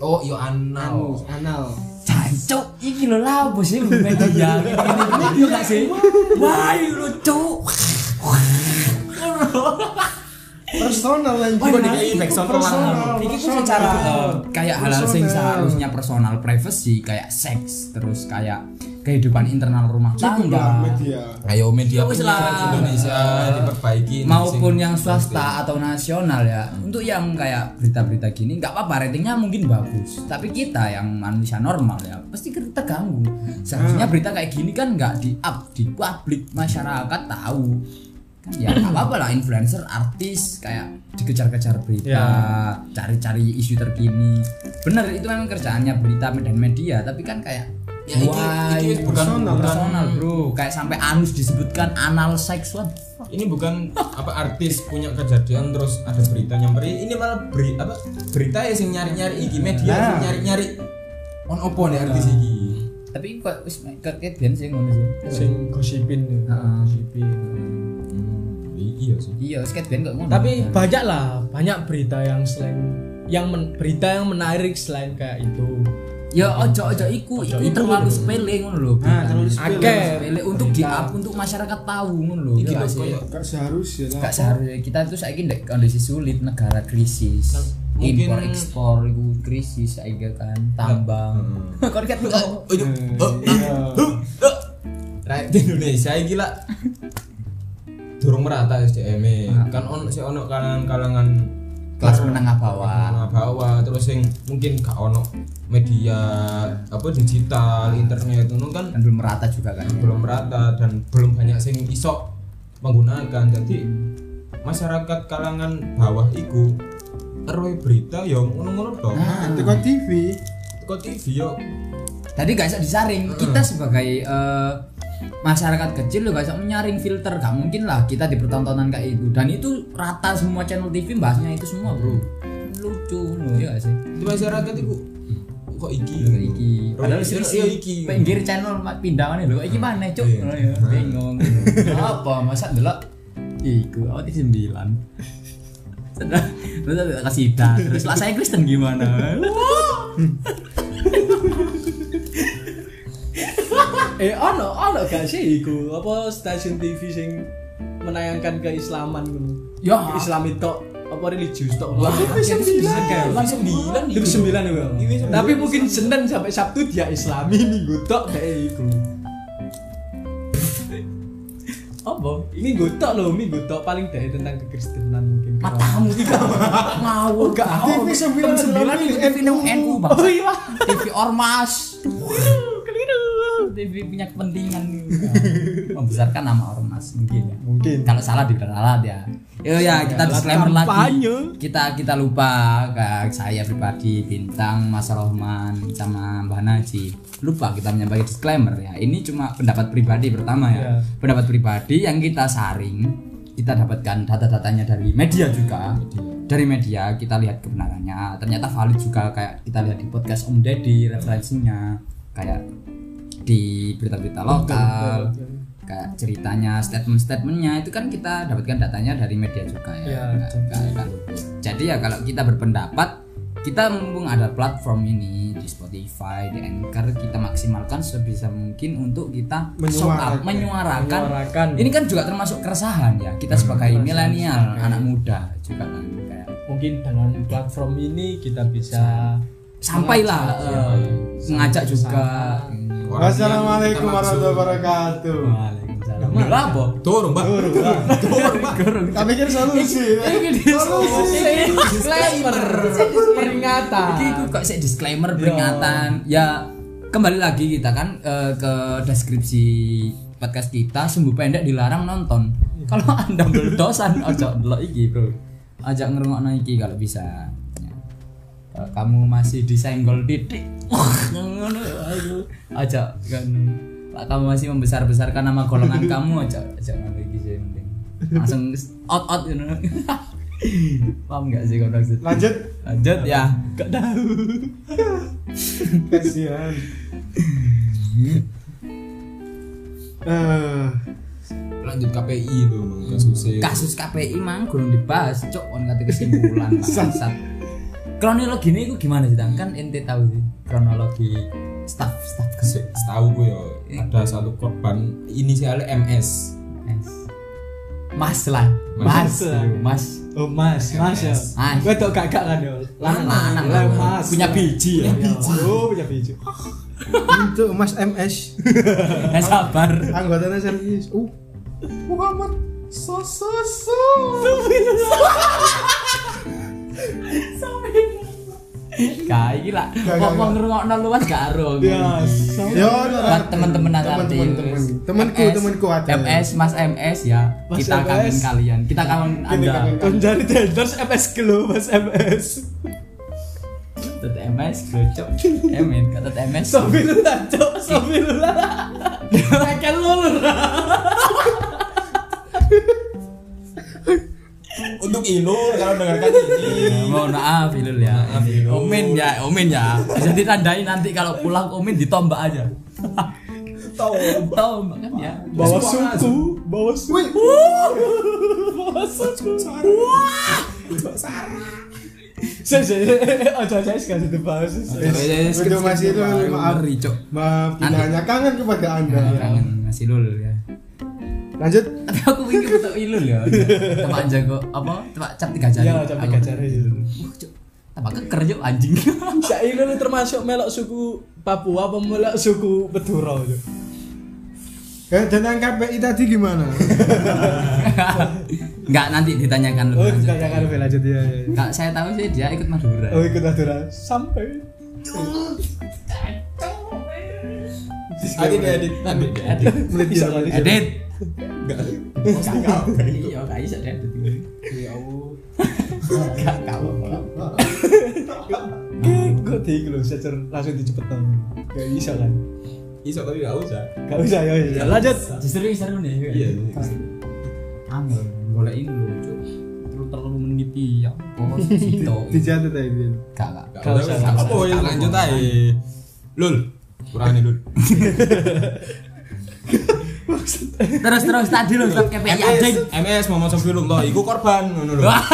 Oh, yo anal.
Anu.
anus anal
Cancuk, iki lho ya, lapo sih media iki gak sih? Wah, iki lho cuk.
personal lagi
Oh, iya,
Wah, ini kayak backsound
personal
Iki ku secara eh, kayak halal sing
Personal.
seharusnya personal privacy kayak seks terus kayak kehidupan internal rumah
Nah,
tangga
media
Ayo media
Ya wis lah.
penyiaran Indonesia diperbaiki
maupun
Sing-
yang swasta atau nasional ya untuk yang kayak berita-berita gini nggak apa-apa ratingnya mungkin bagus tapi kita yang manusia normal ya pasti kita terganggu
Hmm.
seharusnya berita kayak gini kan nggak di up di publik masyarakat tahu kan ya nggak apa-apa lah influencer artis kayak dikejar-kejar berita
Ya.
cari-cari isu terkini bener itu memang kerjaannya berita dan media tapi kan kayak
Ya, iki-
why?
iki bukan-
personal,
bukan-
personal, bro kayak sampai anus disebutkan anal sex what the fuck?
ini bukan apa artis punya kejadian terus ada berita nyamperin ini malah beri apa berita ya sing nyari nyari iki media sing nyari nyari on opo nih artis iki
tapi kok wis kaget ben sih ngono sih
sing gosipin
Iya.
tuh,
Heeh.
gosipin.
hmm, iki ya sih
iya wis kaget ben kok ngono
tapi
Iya.
banyak lah banyak berita yang selain yang men- berita yang menarik selain kayak itu
ya
Iya,
ojo ojo iku iku terlalu sepele ngono lho
iya.
nah terlalu
Terlalu
sepele
Akeh.
sepele untuk di up untuk masyarakat tahu ngono lho
iki
iya
lho
gak sih?
koyo
gak seharusnya lah
gak seharusnya kita tuh saiki ndek kondisi sulit negara krisis
Mungkin-
impor ekspor iku krisis saiki kan tambang kon ket kok
Ojo, oh, oh, oh. Rakyat Indonesia iki lah durung merata SDM -e. kan on si ono kalangan-kalangan
kelas menengah bawah
Nah, bawah terus yang mungkin gak ono media apa digital internet itu kan
dan belum merata juga kan
belum merata dan belum banyak sing iso menggunakan jadi masyarakat kalangan bawah iku terwe berita ya ngono-ngono dong
nah teko TV
kok ya, TV yo
tadi gak bisa disaring kita sebagai eh, masyarakat kecil lo gak bisa menyaring filter gak mungkin lah kita dipertontonan kayak itu dan itu rata semua channel TV bahasnya itu semua bro lucu lo ya gak sih
di masyarakat iku kok iki
Lho, kayak iki padahal
Yo,
sih
yo Oh, iya, iki ya?
pinggir channel mak- pindahannya lo iki mana cuk
Iya.
Lho, ya, bingung apa masa delok iku awak di sembilan Terus- terus ada kasida terus lah saya Kristen gimana
eh ono ono gak sih iku apa stasiun TV sing menayangkan keislaman gitu
Ya.
islami tok apa religius tok
Wah,
Akeh. Akeh.
Kan sembilan
Itu sembilan iku.
Ini sembilan.
tapi mungkin senin sampai sabtu dia islami minggu tok kayak iku apa minggu tok loh minggu tok paling dari tentang kekristenan mungkin
matamu tiga ngawur
Gak
gak
ngawur.
TV sembilan Oh, sembilan itu TV nang NU bang
oh iya
TV ormas TV punya kepentingan nih. membesarkan nama ormas mungkin ya
Mungkin.
kalau salah dibilang salah ya Yo ya kita disclaimer lagi kita kita lupa Kak, saya pribadi bintang Mas Rohman sama Mbak Naji lupa kita menyampaikan disclaimer ya ini cuma pendapat pribadi pertama ya
Iya.
pendapat pribadi yang kita saring kita dapatkan data-datanya dari media juga dari media kita lihat kebenarannya ternyata valid juga kayak kita lihat di podcast Om Deddy referensinya kayak di berita-berita lokal kayak ceritanya statement-statementnya itu kan kita dapatkan datanya dari media juga ya,
Ya,
Nggak- nggak- nggak- jadi ya kalau kita berpendapat kita mumpung ada platform ini di Spotify di Anchor kita maksimalkan sebisa mungkin untuk kita shout out,
Menyuarakan.
menyuarakan
Menyuarakan.
ini kan juga termasuk keresahan ya kita sebagai milenial anak muda juga kan kayak
mungkin dengan platform ini kita bisa
sampailah eh, mengajak juga
Wassalamualaikum warahmatullahi wabarakatuh
Waalaikumsalam Lha apa?
Turun, Mbak.
tak pikir kan solusi
kan
disclaimer peringatan
Jadi itu kok sih disclaimer peringatan. Ya kembali lagi kita kan eh, ke deskripsi podcast kita sumbu pendek dilarang nonton. Kalau Anda berdosan ojo delok iki, Bro. Ajak ngerungokno iki kalau bisa. Ya. Kalau kamu masih disenggol titik. ngono aduh. Ajak kan. Kalau kamu masih membesar-besarkan nama golongan kamu aja jangan iki sih mending. Langsung out out you know. Paham gak sih kau maksud?
lanjut
lanjut ya
Gak tahu.
kasihan
Eh,
lanjut KPI itu mang kasusnya
kasus KPI mang belum dibahas cok on kata kesimpulan bangsat kronologi ini itu gimana sih Tang? kan ente tahu sih kronologi staff staff kasus
Se- setahu gue ya
Eh.
ada satu korban inisialnya MS
mas lah mas
Mas.
mas
oh mas, mas ya.
Mas.
Gue tau kakak kan ya.
Lanang,
lah,
lanang.
mas.
Punya biji ya?
Punya biji. Oh, punya biji.
untuk Mas MS
ya sabar
anggotanya serius uh
Muhammad Sososo.
gak iki lah ngomong ngrungokno luas gak arung
Biasa.
ya
buat teman-teman nanti
teman-teman temanku temanku ada
MS Mas MS ya
Mas
kita
MS.
kangen kalian kita kangen anda
kangen
Kan dari tenders MS Glow, Mas MS.
tetep MS gocok emen kata MS
Sofi lula, cok. Sofi lula.
Kayak lulur
untuk Ilo kalau dengarkan ini
Mohon maaf Ilul ya.
Maaf, Ilul.
Omen ya, Omen ya. Bisa ditandai nanti kalau pulang Omen ditombak aja.
tahu
Tombak kan ya.
Bawa suku, bawa suku. Bawa suku. Saya saya oh saya sekali itu bahas.
Wes,
Untuk Mas Ilul, maaf.
Ngeri, Cok.
maaf kita
Nanti.
hanya kangen kepada anda
Kangen Mas Ilul ya.
lanjut
Tapi aku ingin untuk Ilul ya. Tempat jago apa? Tempat Iya, cap tiga jari.
Ya, tapi gak cari.
Wah, Cok. Tempat keker Cok anjing.
Sailun termasuk melok suku Papua apa melok suku Beduro itu?
eh, dan yang KPI tadi gimana
Enggak nanti ditanyakan lebih
Oh,
lanjut.
kita akan lebih lanjut ya. ya.
Kak, saya tahu sih dia ikut Madura.
iya.
Oh, ikut Madura sampai.
nanti dia edit nanti
ya,
dia edit
Menit bisa kali.
Iya.
Edit.
Enggak, enggak.
Eh, Iya, gak bisa edit.
ya Allah
Gak kau.
Gue tinggi loh, saya cer- langsung dicepet tau. Gak bisa kan?
iso tapi gak usah
Gak bisa ya.
Iya.
ya. Lanjut.
Justru ini seru nih. ya.
iya
Angel, boleh ini lho, Cuk. Terlalu terlalu meniti ya. Bos, gitu.
dicatat tadi
Gak, gak.
Gak
Gak usah,
usah
gak usah.
apa ya lanjut aja lul kurangin lul
Terus terus tadi lo stop KPI anjing.
MS MS mau masuk film toh iku korban ngono lho
Korban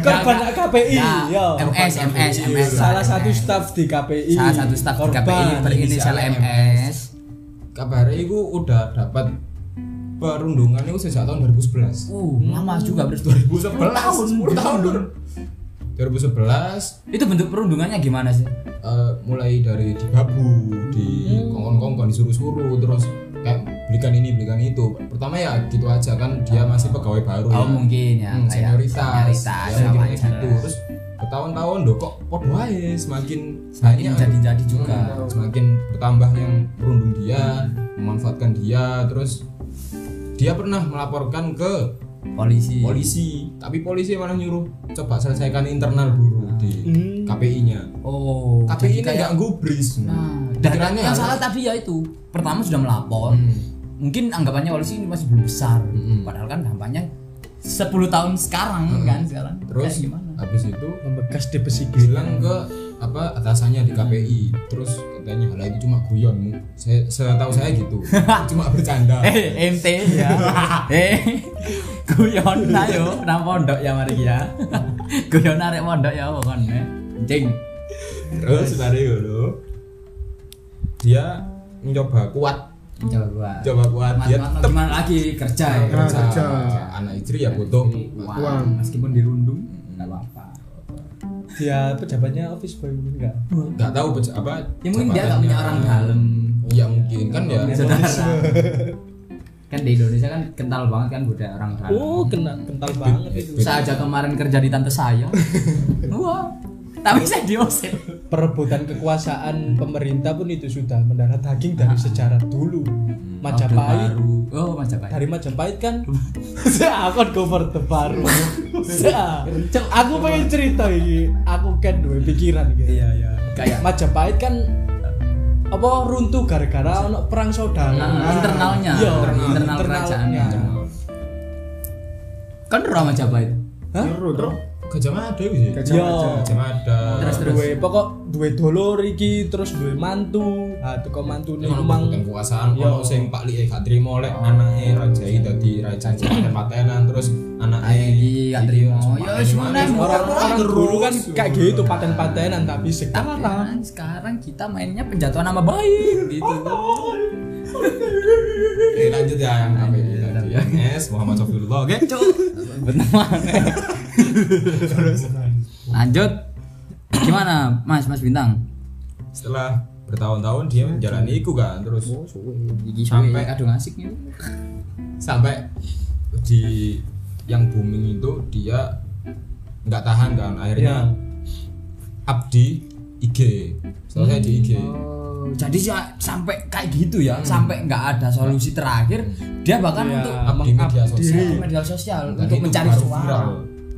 Gak, gak.
KPI.
Gak.
Ya.
MS MS MS.
Salah satu
MS.
staf di
Iya.
KPI.
salah satu staf di KPI
Korban.
berinisial
inisial
MS.
kabarnya iku udah dapat perundungan itu sejak tahun 2011
Uh, lama juga terus 2011
Hmm. tahun, 10 tahun Lur. 2011
Itu bentuk perundungannya gimana sih?
eh, mulai dari dibabu, di
Hmm.
kongkon-kongkon disuruh-suruh terus kayak belikan ini belikan itu. Pertama ya gitu aja kan dia masih pegawai baru
Ah. Oh,
ya.
mungkin ya,
Hmm,
kayak
senioritas.
senioritas,
Ya, mungkin kayak
wajar.
gitu. Terus bertahun-tahun loh kok podo ae semakin
Semakin
banyak.
jadi-jadi juga. Hmm.
Hmm, semakin bertambah yang berundung dia, memanfaatkan dia terus dia pernah melaporkan ke
Polisi.
polisi tapi polisi malah nyuruh coba selesaikan internal dulu di
Hmm.
KPI-nya
Oh,
KPI ini
jadi kayak-
nggak gubris
Nah, dan yang
Pikirannya harus-
salah tadi ya itu. Pertama sudah melapor. Mungkin anggapannya polisi ini masih belum besar.
Hmm.
Padahal kan dampaknya 10 tahun sekarang kan sekarang.
terus
Kayak gimana?
habis itu
Membekas di pesisir.
bilang ke apa
Nah.
atasannya di KPI terus katanya lah itu cuma guyon saya setahu saya gitu cuma bercanda
Eh, MT ya. eh. Guyon ta yo, nang pondok ya mari ya. Guyon arek pondok ya apa kon. eh. Anjing.
terus dari dulu dia mencoba kuat
Coba.
coba kuat
Mas,
dia
mas,
tetap
gimana lagi kerja ya.
kerja.
kerja.
anak istri ya butuh
Uang, meskipun dirundung enggak apa-apa.
Dia pejabatnya office boy mungkin enggak.
nggak tahu pec- apa
Ya mungkin dia nggak punya
jabatannya.
orang dalam.
ya mungkin kan ya
Saudara. kan di Indonesia kan kental banget kan budaya orang dalam.
Oh, kena kental banget itu.
Saya aja kemarin kerja di tante saya. Wah. Tapi saya diusir.
Perebutan kekuasaan pemerintah pun itu sudah mendarat daging dari sejarah dulu. Majapahit
Nah. Hmm. Baru. Oh, Majapahit.
dari Majapahit kan saya akan cover terbaru Saya- aku pengen cerita ini aku kan dua pikiran gitu iya iya
Kayak-
kayak Majapahit kan apa runtuh gara-gara ono perang saudara
Nah, internalnya,
Iya,
internal, internal
internalnya.
kerajaan. Kan roh Majapahit.
Hah?
terus
Gajah Mada wis.
Gajah
Yo.
Mada.
Gajah Mada.
Terus, terus.
Duwe pokok duwe dolor iki terus duwe mantu. Ah teko mantune
Ini memang Iya,
emang
kekuasaan
Yo.
ono sing Pak Lie gak trimo lek anake rajai dadi raja jajahan patenan terus anake Iya,
Iki gak trimo. Yo, semuanya murah.
orang-orang dulu kan kayak gitu paten-patenan tapi
Tapi
sekarang
kan sekarang kita mainnya penjatuhan nama baik gitu.
Oke, lanjut ya yang apa ini tadi ya. Yes, Muhammad Sofirullah. Oke.
Cuk. Benar. Lanjut. Gimana, Mas? Mas Bintang?
Setelah bertahun-tahun dia menjalani iku kan terus
Oh. Iki sampai
Sampai-
kadung asik nih.
sampai di yang booming itu dia nggak tahan kan akhirnya Abdi IG selesai di IG
Oh, jadi sa- sampai kayak gitu
Hmm.
ya, sampai nggak ada solusi terakhir, dia bahkan
Iya.
untuk
Abdi media sosial
di media sosial
Dan
untuk
Nah, itu
mencari
baru
suara.
viral.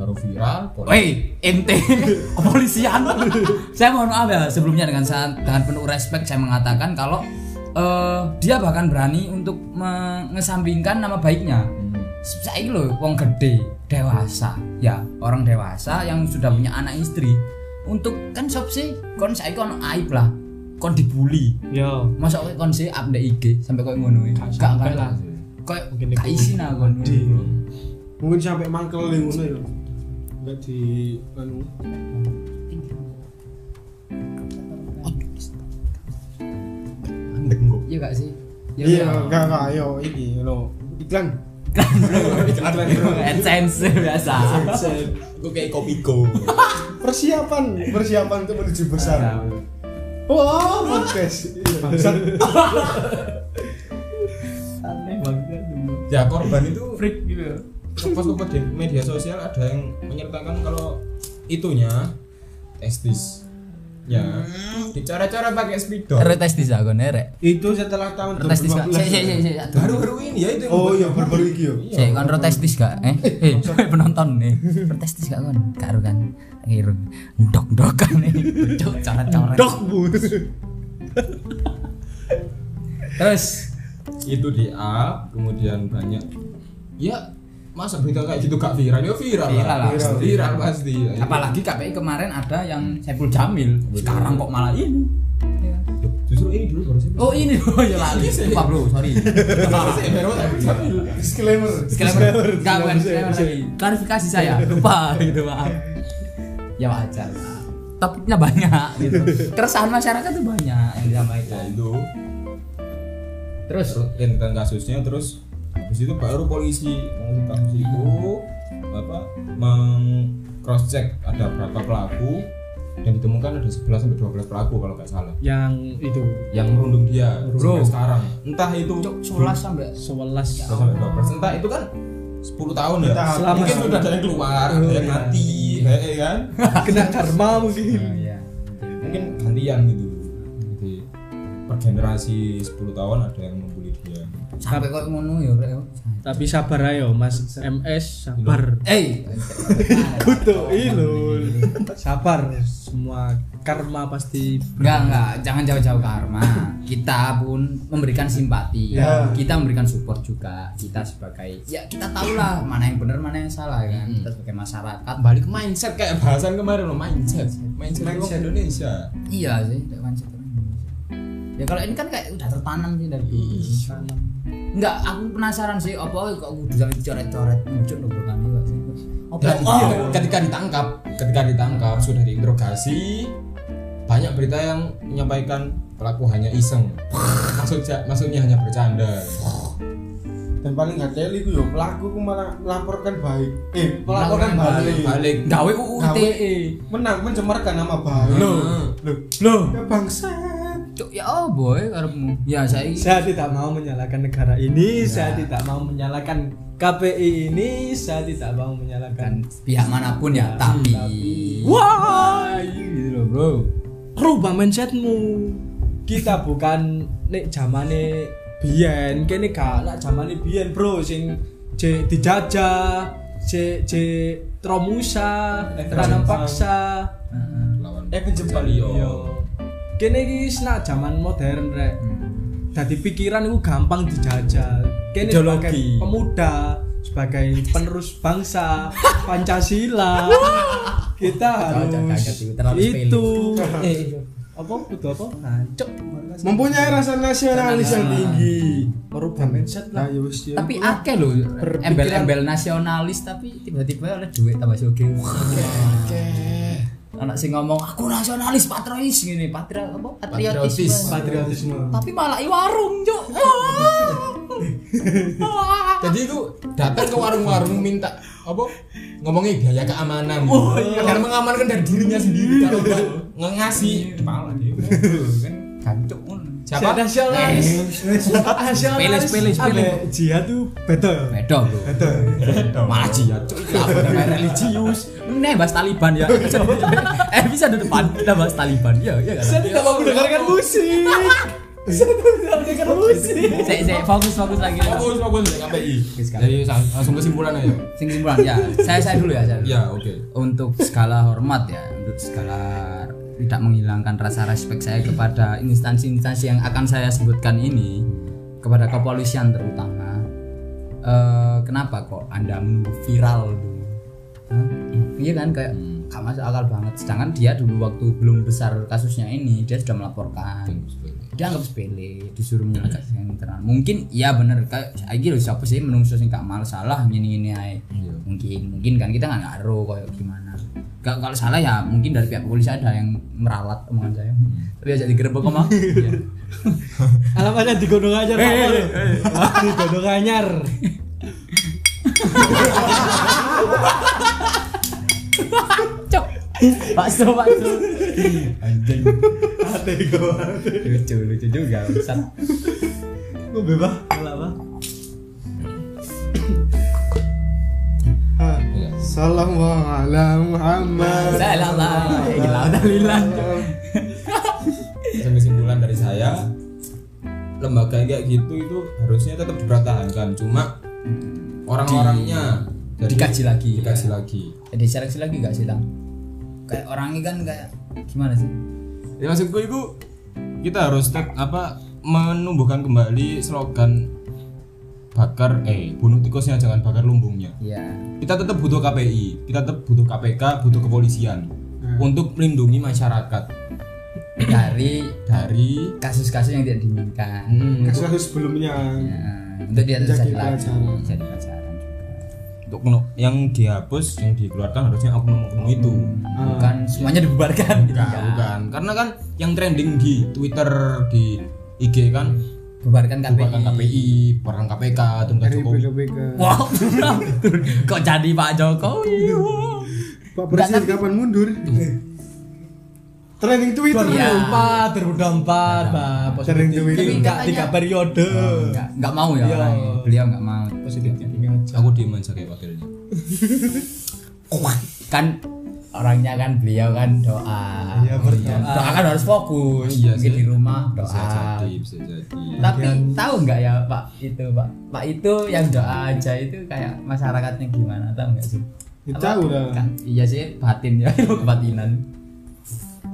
baru viral pol-
Woi, ente kepolisian. saya mohon maaf ya sebelumnya dengan sa- dengan penuh respect saya mengatakan kalau eh, dia bahkan berani untuk mengesampingkan nama baiknya. Saya ini loh, wong gede, dewasa, ya orang dewasa yang sudah punya anak istri. Untuk kan sop sih, kon saya kon aib lah, kon dibully.
yo
Masa kok kon sih update IG sampai kau ngono ya? Gak
sampai
kan
Hmm,
lah.
lah.
Kau
Mungkin
gak
itu-
isi nah kon.
mungkin sampai mangkel yang ngono ya nggak di anu
Iya gak sih? Ya,
iya
ya.
nggak nggak yo ini lo iklan
iklan
ya.
bro.
AdSense biasa.
Gue kayak Kopiko
persiapan persiapan untuk menuju besar wow podcast Bangsat.
ya korban itu freak
ya.
gitu pas lupa di media sosial ada yang menyertakan kalau itunya testis ya
Hmm.
dicara-cara pakai spidol
Retestis aku nerek.
itu setelah tahun
Retestis gak? Sik
2015.
sik sik sik.
baru-baru ini ya itu yang
oh
buat-
iya baru-baru iki yo
Sik kon retestis gak? Eh, eh penonton nih. Retestis gak kon? Karo kan. Ngirung. Ndok-ndokan kan nih. Cuk coret-coret. Dok Terus
itu di up kemudian banyak ya masa berita kayak gitu gak viral ya viral,
Viral lah,
viral,
pasti.
viral pasti
apalagi KPI kemarin ada yang Saiful Jamil. Sekarang kok malah ini.
Iya.
Ya.
justru ini dulu baru sih
Oh ini oh ya lali. Lupa bro, sorry.
disclaimer
Disclaimer. Enggak bukan disclaimer lagi. Klarifikasi saya. Lupa gitu, maaf. Ya wajar lah. Topiknya banyak gitu. Keresahan masyarakat tuh banyak yang
ya
disampaikan.
itu
Terus
rentetan kasusnya terus habis itu baru polisi mengusut kasus itu apa meng cross check ada berapa pelaku dan ditemukan ada 11 sampai 12 pelaku kalau nggak salah
yang itu
yang merundung dia
Bro.
sampai sekarang entah itu
Cuk, sulas sampai
11
10 sampai 12 entah itu kan 10 tahun ya
Entah,
mungkin
selama-
sudah ada yang keluar ada yang mati hehe kan
kena karma
Hmm.
mungkin
mungkin gantian gitu jadi per generasi 10 tahun ada yang membuli dia
sampai kok ngono ya rek.
tapi sabar ayo mas MS sabar
Eh,
kutu ilul
Hmm.
sabar semua karma pasti
enggak enggak, jangan jauh-jauh karma. Kita pun memberikan simpati,
Ya.
kita memberikan support juga. Kita sebagai ya kita tahu lah mana yang benar mana yang salah kan. Kita sebagai masyarakat
balik ke mindset kayak bahasan kemarin loh mindset mindset, orang Indonesia
Iya sih, tidak mindset orang Indonesia. Ya kalau ini kan kayak udah tertanam sih dari dulu. Tertanam. Enggak, aku penasaran sih apa kok kudu sampe dicoret-coret muncul lho bukan enggak sih. Apa
dan
oh,
iya, ketika ditangkap ketika ditangkap sudah diinterogasi banyak berita yang menyampaikan pelaku hanya iseng maksudnya maksudnya hanya bercanda
dan paling nggak teli ku yo pelaku ku malah melaporkan baik eh melaporkan balik
balik
gawe UU ITE.
menang mencemarkan nama baik
Loh.
lo
Loh,
ya bangsat
cuk ya oh boy karepmu. Ya saya
saya tidak mau menyalahkan negara
Ya.
ini saya tidak mau menyalahkan KPI ini saya tidak mau menyalahkan
kan pihak manapun ya, tapi
wah
gitu loh, Bro.
rubah mindsetmu kita bukan nek zamane biyen kene gak nak zamane biyen bro sing je dijajah je je tromusa tanam paksa
lawan Iya.
eh penjempol
Yo.
kene iki wis nak zaman modern rek dadi pikiran itu gampang dijajal kene
Ideologi.
sebagai pemuda sebagai penerus bangsa Pancasila kita
Cocok, cocok,
harus
itu terlalu
itu eh apa kudu apa ngancok
Mempunyai rasa nasionalis yang tinggi. Ya,
merubah mindset lah
Ayo wis ya.
tapi akeh loh
Berpikiran-
embel-embel nasionalis tapi tiba-tiba oleh duit tambah soge anak sing ngomong aku nasionalis patriotis gini patri apa
Patriotis.
patriotisme
patriotisme
tapi malah i warung cuk
Jadi itu datang ke warung-warung minta apa ngomongnya biaya keamanan gitu. dan mengamankan dari dirinya sendiri kalau buat nge- ngasih kepala dia kan
gancuk ngono.
siapa
nasionalis nasionalis
Pilih, pilih, pilih.
ambek jihad tuh beda ya
beda bro
malah jihad cuy Apa namanya?
religius nih bahas Taliban ya eh bisa di depan kita bahas Taliban ya ya kan
saya tidak mau mendengarkan musik
Iya.
saya tidak mau mendengarkan musik
saya saya fokus fokus lagi
fokus fokus ya KPI
Oke, sekarang.
jadi sang- langsung kesimpulan aja
sing simpulan ya saya saya dulu ya saya dulu.
ya oke
untuk skala hormat ya untuk skala tidak menghilangkan rasa respek saya kepada instansi-instansi yang akan saya sebutkan ini kepada kepolisian terutama Eh, kenapa kok anda menunggu viral dulu Hah? iya kan kayak gak masuk akal banget sedangkan dia dulu waktu belum besar kasusnya ini dia sudah melaporkan dianggap sepele disuruh menyelesaikan internal mungkin ya bener kayak lagi loh siapa sih menungso sing gak mal salah gini gini ae mungkin mungkin kan kita nggak ngaruh kayak gimana Ka- kalau salah ya mungkin dari pihak polisi ada yang meralat omongan saya tapi ajak digerebek omah Iya.
alamatnya di Gunung Anyar Pak Pol. di Gunung Anyar
cok bakso bakso
anjing lucu lucu juga Ustaz.
gue bebas apa
Iya.
Salam ala
Iya.
Muhammad.
saya lah lah gila udah lilan
Yang kesimpulan dari saya lembaga kayak gitu itu harusnya tetap dipertahankan cuma orang-orangnya jadi
dikaji lagi ya.
dikaji lagi
jadi seleksi lagi gak sih lang kayak orangnya kan kayak gimana sih
ya maksudku itu kita harus tetap apa menumbuhkan kembali slogan bakar eh bunuh tikusnya jangan bakar lumbungnya
Iya
kita tetap butuh KPI, kita tetap butuh KPK, butuh kepolisian
Hmm.
untuk melindungi masyarakat
dari
dari hmm,
kasus-kasus yang tidak diinginkan
Kasus sebelumnya.
Ya, untuk dia
Jadi
bisa pelajaran
pelajaran.
bisa pelajaran juga
untuk no- yang dihapus, yang dikeluarkan harusnya oknum-oknum itu.
Hmm. bukan semuanya dibubarkan
Bukan, bukan. Karena kan yang trending di Twitter, di IG kan
bubarkan KPI
bukan KPI, perang KPK, tuntutan
Dari
Jokowi.
PKB ke
wow kok jadi Pak Jokowi wow.
Pak Presiden kapan mundur? Trending Twitter.
Iya.
2004 2004 Pak
Sering duit.
Positif tiga
Tapi
tiga periode
nggak nggak mau ya
Iya.
orangnya. beliau nggak mau
positif thinking aja
Aku diem aja kayak wakilnya.
kan orangnya kan beliau kan doa
Iya, berdoa.
doa kan harus fokus
Iya
mungkin
sih.
di rumah doa Nah,
Bisa jadi, bisa jadi.
tapi tahu nggak ya Pak itu Pak Pak itu yang doa aja itu kayak masyarakatnya gimana tahu nggak sih
Ya, tahu lah.
kan iya sih batin ya ilmu kebatinan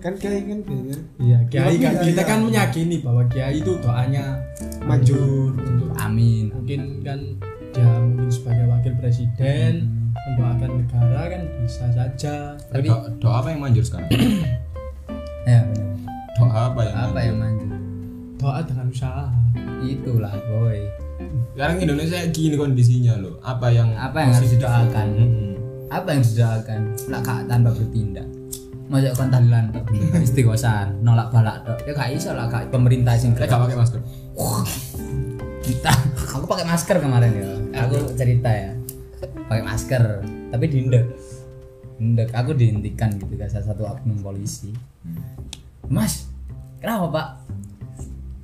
Kan kayak kan biasanya
iya kiai
Tapi
kan
iya,
kita
iya.
kan meyakini bahwa kiai itu doanya
Maju.
untuk
amin
mungkin kan dia mungkin sebagai wakil presiden mendoakan negara kan bisa saja
tapi
Doa, doa apa yang manjur sekarang?
ya benar
Doa apa yang
apa
manjur?
yang maju
doa dengan usaha
itulah boy
Sekarang Indonesia gini kondisinya loh. Apa yang Hmm,
apa yang harus didoakan
Mm-mm.
apa yang harus didoakan lah kak tanpa bertindak Masa kon tahlilan tok istighosan nolak balak tok ya gak iso lah kak pemerintah sing
Ya,
Saya gak pakai masker.
kita aku pakai masker kemarin ya aku cerita ya pakai masker tapi diindek indek aku dihentikan gitu kan salah satu oknum polisi
Hmm.
mas kenapa pak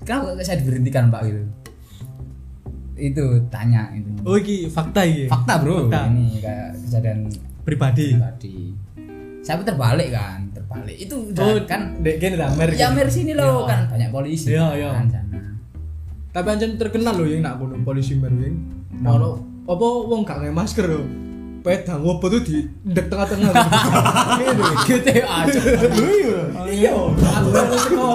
kenapa saya diberhentikan pak gitu itu tanya itu
oh iki fakta iki
fakta bro
Fakta. Iya.
ini kayak kejadian
pribadi
Iya. tadi saya pun terbalik kan terbalik itu udah
oh
kan
kan dek gini ramer
ya
gini.
mir sini loh
Iya.
kan banyak polisi
Iya, iya.
kan sana.
tapi anjir terkenal loh yang nak bunuh polisi baru yang mau apa wong gak nge masker loh pedang wopo tuh di dek tengah-tengah gitu
GTA
iya aku kan teko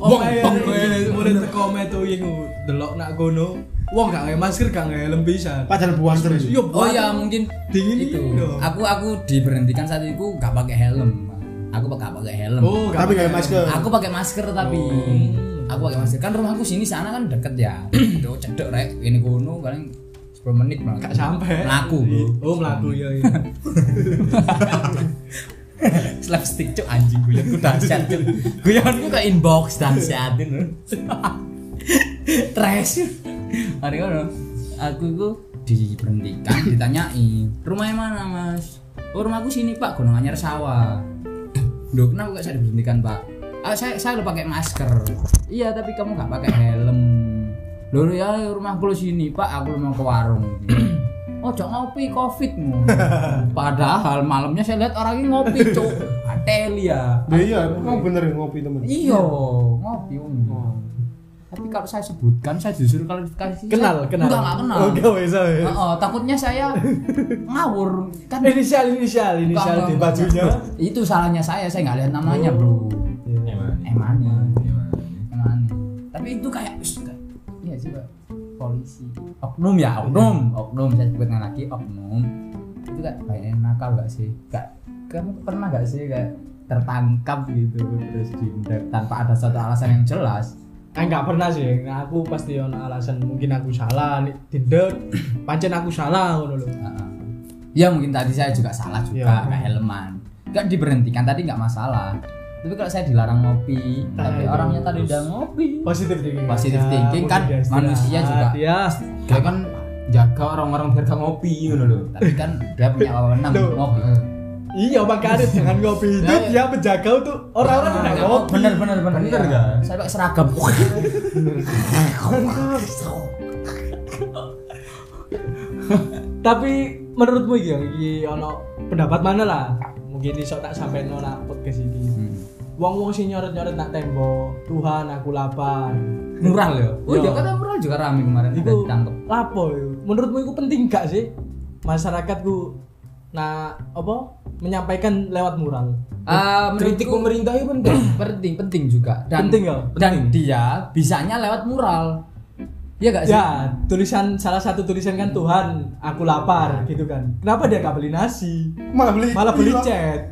Wong,
wong
wong,
murid teko komet tuh yang delok nak gono. Wong gak nge masker gak nge helm bisa.
Padahal buang terus.
Yo,
Oh ya mungkin
Dingin
itu.
dingin dong.
Aku aku diberhentikan saat itu gak pakai helm. Aku gak pakai helm.
Oh,
Tapi gak masker.
Aku pakai masker tapi aku pakai masker kan rumahku sini sana kan deket ya. Duh cedek rek ini kono paling 10 menit malah.
Gak sampai.
Melaku, Bro.
Oh, melaku ya. ya.
Slapstick cuk anjing guyonku dahsyat cuk. Guyonku ke inbox dahsyatin. Trash. Hari kono aku itu diberhentikan ditanyain rumahnya mana mas oh rumahku sini pak gunung anyar sawah Loh, kenapa kok saya diberhentikan, Pak? Ah, saya saya udah pakai masker. Iya, tapi kamu nggak pakai helm. Loh, ya rumah lo sini, Pak. Aku mau ke warung. oh, jangan ngopi covid mu. Padahal malamnya saya lihat orang ini ngopi, Cuk. Ateli ya.
Ya iya, emang bener ngopi temen.
Iya, ngopi Om. Tapi kalau saya sebutkan, saya justru klarifikasi.
Kenal,
saya,
kenal.
Enggak, enggak kenal.
Oh, gak bisa. ya.
Heeh, takutnya saya ngawur kan
Inisial inisial
Enggak,
inisial di
enggak,
bajunya.
enggak. itu salahnya saya saya nggak lihat namanya bro Emangnya. Emang. Tapi itu kayak wis, kayak- iya sih Pak. Polisi. Oknum ya, oknum. Oknum saya sebutnya lagi oknum. Itu kayak kayak nakal gak sih? Gak kamu pernah gak sih kayak tertangkap gitu terus diundang tanpa ada satu alasan yang jelas
Ah nggak pernah sih. Nah, aku pasti ono alasan mungkin aku salah nih tindak. Pancen aku salah ngono lho.
Heeh. ya mungkin tadi saya juga salah juga
Iya.
nggak helman nggak diberhentikan tadi nggak masalah tapi kalau saya dilarang ngopi
Nah,
tapi
itu
orangnya tadi
terus.
udah ngopi
Positif thinking.
Positive
aja,
thinking kan
positif istirahat,
manusia juga.
Ya.
Dia kan jaga orang-orang biar gak ngopi gitu loh.
tapi kan dia punya wewenang
Loh.
ngopi
Iya makanya jangan ngopi itu
Nah,
dia menjaga untuk orang-orang yang nggak ngopi.
oh, bener bener bener
Bener
Iya.
kan?
saya pakai seragam
Tapi menurutmu iki iki ono pendapat mana lah? Mungkin iso tak sampein nolak podcast ini.
Hmm.
Wong-wong sing nyoret-nyoret nak tembok, Tuhan aku lapar.
mural ya oh
Iya.
Jakarta mural juga rame kemarin udah
Iku
Nah, ditangkep
lapo yo. Menurutmu itu penting gak sih masyarakatku nah apa menyampaikan lewat mural?
Eh,
Kritik
menurutku
pemerintah itu penting.
penting penting juga dan
Penting ya?
dan dia bisanya lewat mural Iya gak sih
Ya, tulisan salah satu tulisan kan Tuhan, aku lapar gitu kan. Kenapa dia gak beli nasi?
Malah beli
Malah beli
iya.
cat.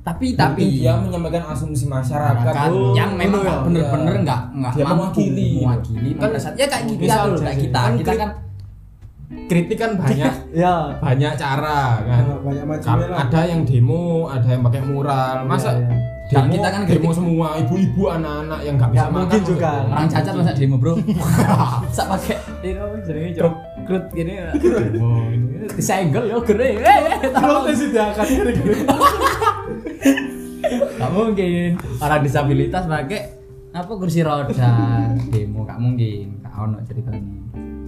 tapi tapi
Mungkin dia menyampaikan asumsi Iya. masyarakat
masyarakat
Oh,
yang memang
iya.
nggak bener-bener nggak nggak
Dia
mampu
mewakili.
mewakili
Kan
mempersat- ya kayak kita
bisa
loh
aja
kayak
sih.
kita
Kan
kita
kri-
kan
Kritik kan
Iya.
banyak
Ya,
banyak cara kan.
Nah, banyak macamnya
Kal-
lah
Ada yang demo, ada yang pakai mural. Masa
Iya,
Dan
demo
kita kan kritik.
demo semua ibu-ibu anak-anak yang nggak bisa
Nggak
makan
mungkin juga.
orang cacat masa demo bro sak pakai
Iya,
itu jenenge
Iya.
jeruk krut gini ya. disenggol yo gere
protes itu ya, kan? akan
Gak mungkin. Orang disabilitas pakai apa kursi roda demo gak mungkin. Gak ono ceritanya.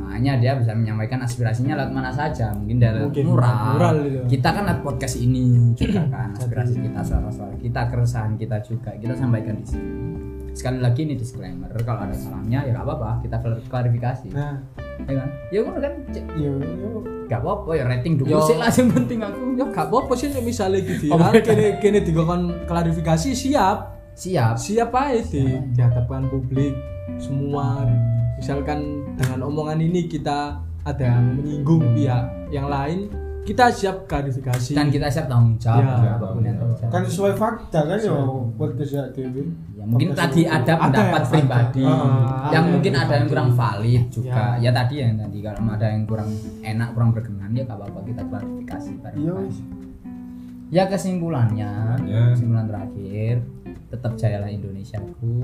Makanya dia bisa menyampaikan aspirasinya lewat mana saja. Mungkin dari
Mungkin,
mural.
mural gitu.
Kita kan lewat podcast ini juga kan aspirasi kita suara-suara kita keresahan kita juga kita sampaikan di sini. Sekali lagi ini disclaimer kalau ada salahnya ya gak apa-apa kita klar- klarifikasi.
nah iya,
Ya kan? Ya ngono kan Cek.
yo yo
gak apa-apa ya rating dulu
Yo.
sih lah yang penting aku.
Ya gak apa-apa sih nek misale iki
Oh,
viral kene kene digokon klarifikasi siap.
Siap.
Siap ae di
Iya.
di hadapan publik semua. Misalkan dengan omongan ini kita ada yang menyinggung pihak yang lain, kita siap klarifikasi.
Dan kita siap tanggung jawab
Ya,
ya, apapun yang terjadi.
kan sesuai fakta kan yo podcast ya TV
Ya, mungkin tadi ada
ya,
pendapat
yang-
pribadi
Ah,
yang
ada
iya,
mungkin
yang
ada yang
pribadi.
kurang valid juga. Ya. tadi yang tadi kalau ada yang kurang enak, kurang berkenan ya gak apa-apa kita klarifikasi bareng.
Iya, wis.
Ya kesimpulannya,
Kesimpulannya.
kesimpulan terakhir tetap jayalah Indonesiaku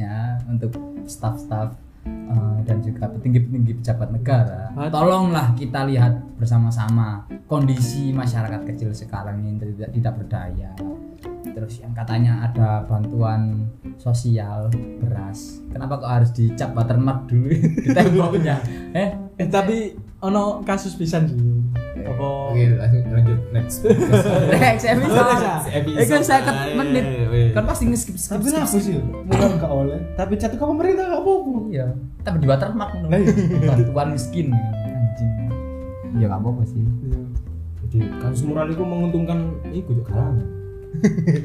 ya untuk staff-staff eh, dan juga petinggi-petinggi pejabat negara. Tolonglah kita lihat bersama-sama kondisi masyarakat kecil sekarang yang tidak tidak berdaya. Terus yang katanya ada bantuan sosial beras. Kenapa kok harus dicap watermark dulu di temboknya? Eh,
Eh, tapi ono kasus pisan sih. Apa
Iya.
Oke, langsung lanjut next.
next
Next
episode.
episode.
Eh, kan saya menit. Kan pasti nge-skip skip
tapi lah aku sih bukan gak oleh tapi jatuh ke pemerintah gak apa-apa
Iya. Tapi di watermark no. bantuan miskin anjing. Ya enggak apa-apa sih.
Iya.
Jadi kasus mural itu menguntungkan iku juga kalangan.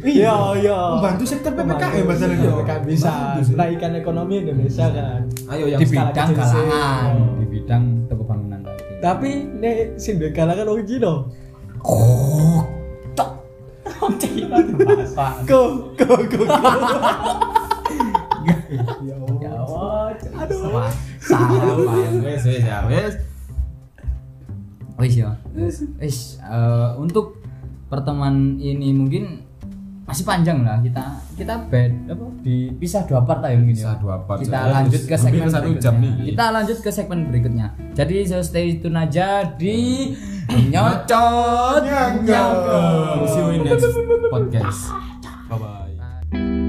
Iya, iya.
Membantu sektor PPKM bahasanya.
PPKM bisa menaikkan ekonomi Indonesia kan.
Ayo yang
di
skala
bidang
kecil sih.
kalangan
Oh.
di bidang kebangunan tadi
Tapi nek sing duwe kalangan wong Cina.
oh
Wong Cina bapak. Go, go, go, go. Ya Allah. Aduh.
salah
wes wes ya wes
wis ya wis eh, untuk pertemuan ini mungkin masih panjang lah kita kita bed apa dipisah dua part lah ya mungkin ya.
Bisa dua part.
kita
Soalnya
lanjut ke
hampir
segmen
satu
berikutnya
jam nih.
kita lanjut ke segmen berikutnya jadi so stay tune aja di nyocot
nyangkut see you in next podcast bye bye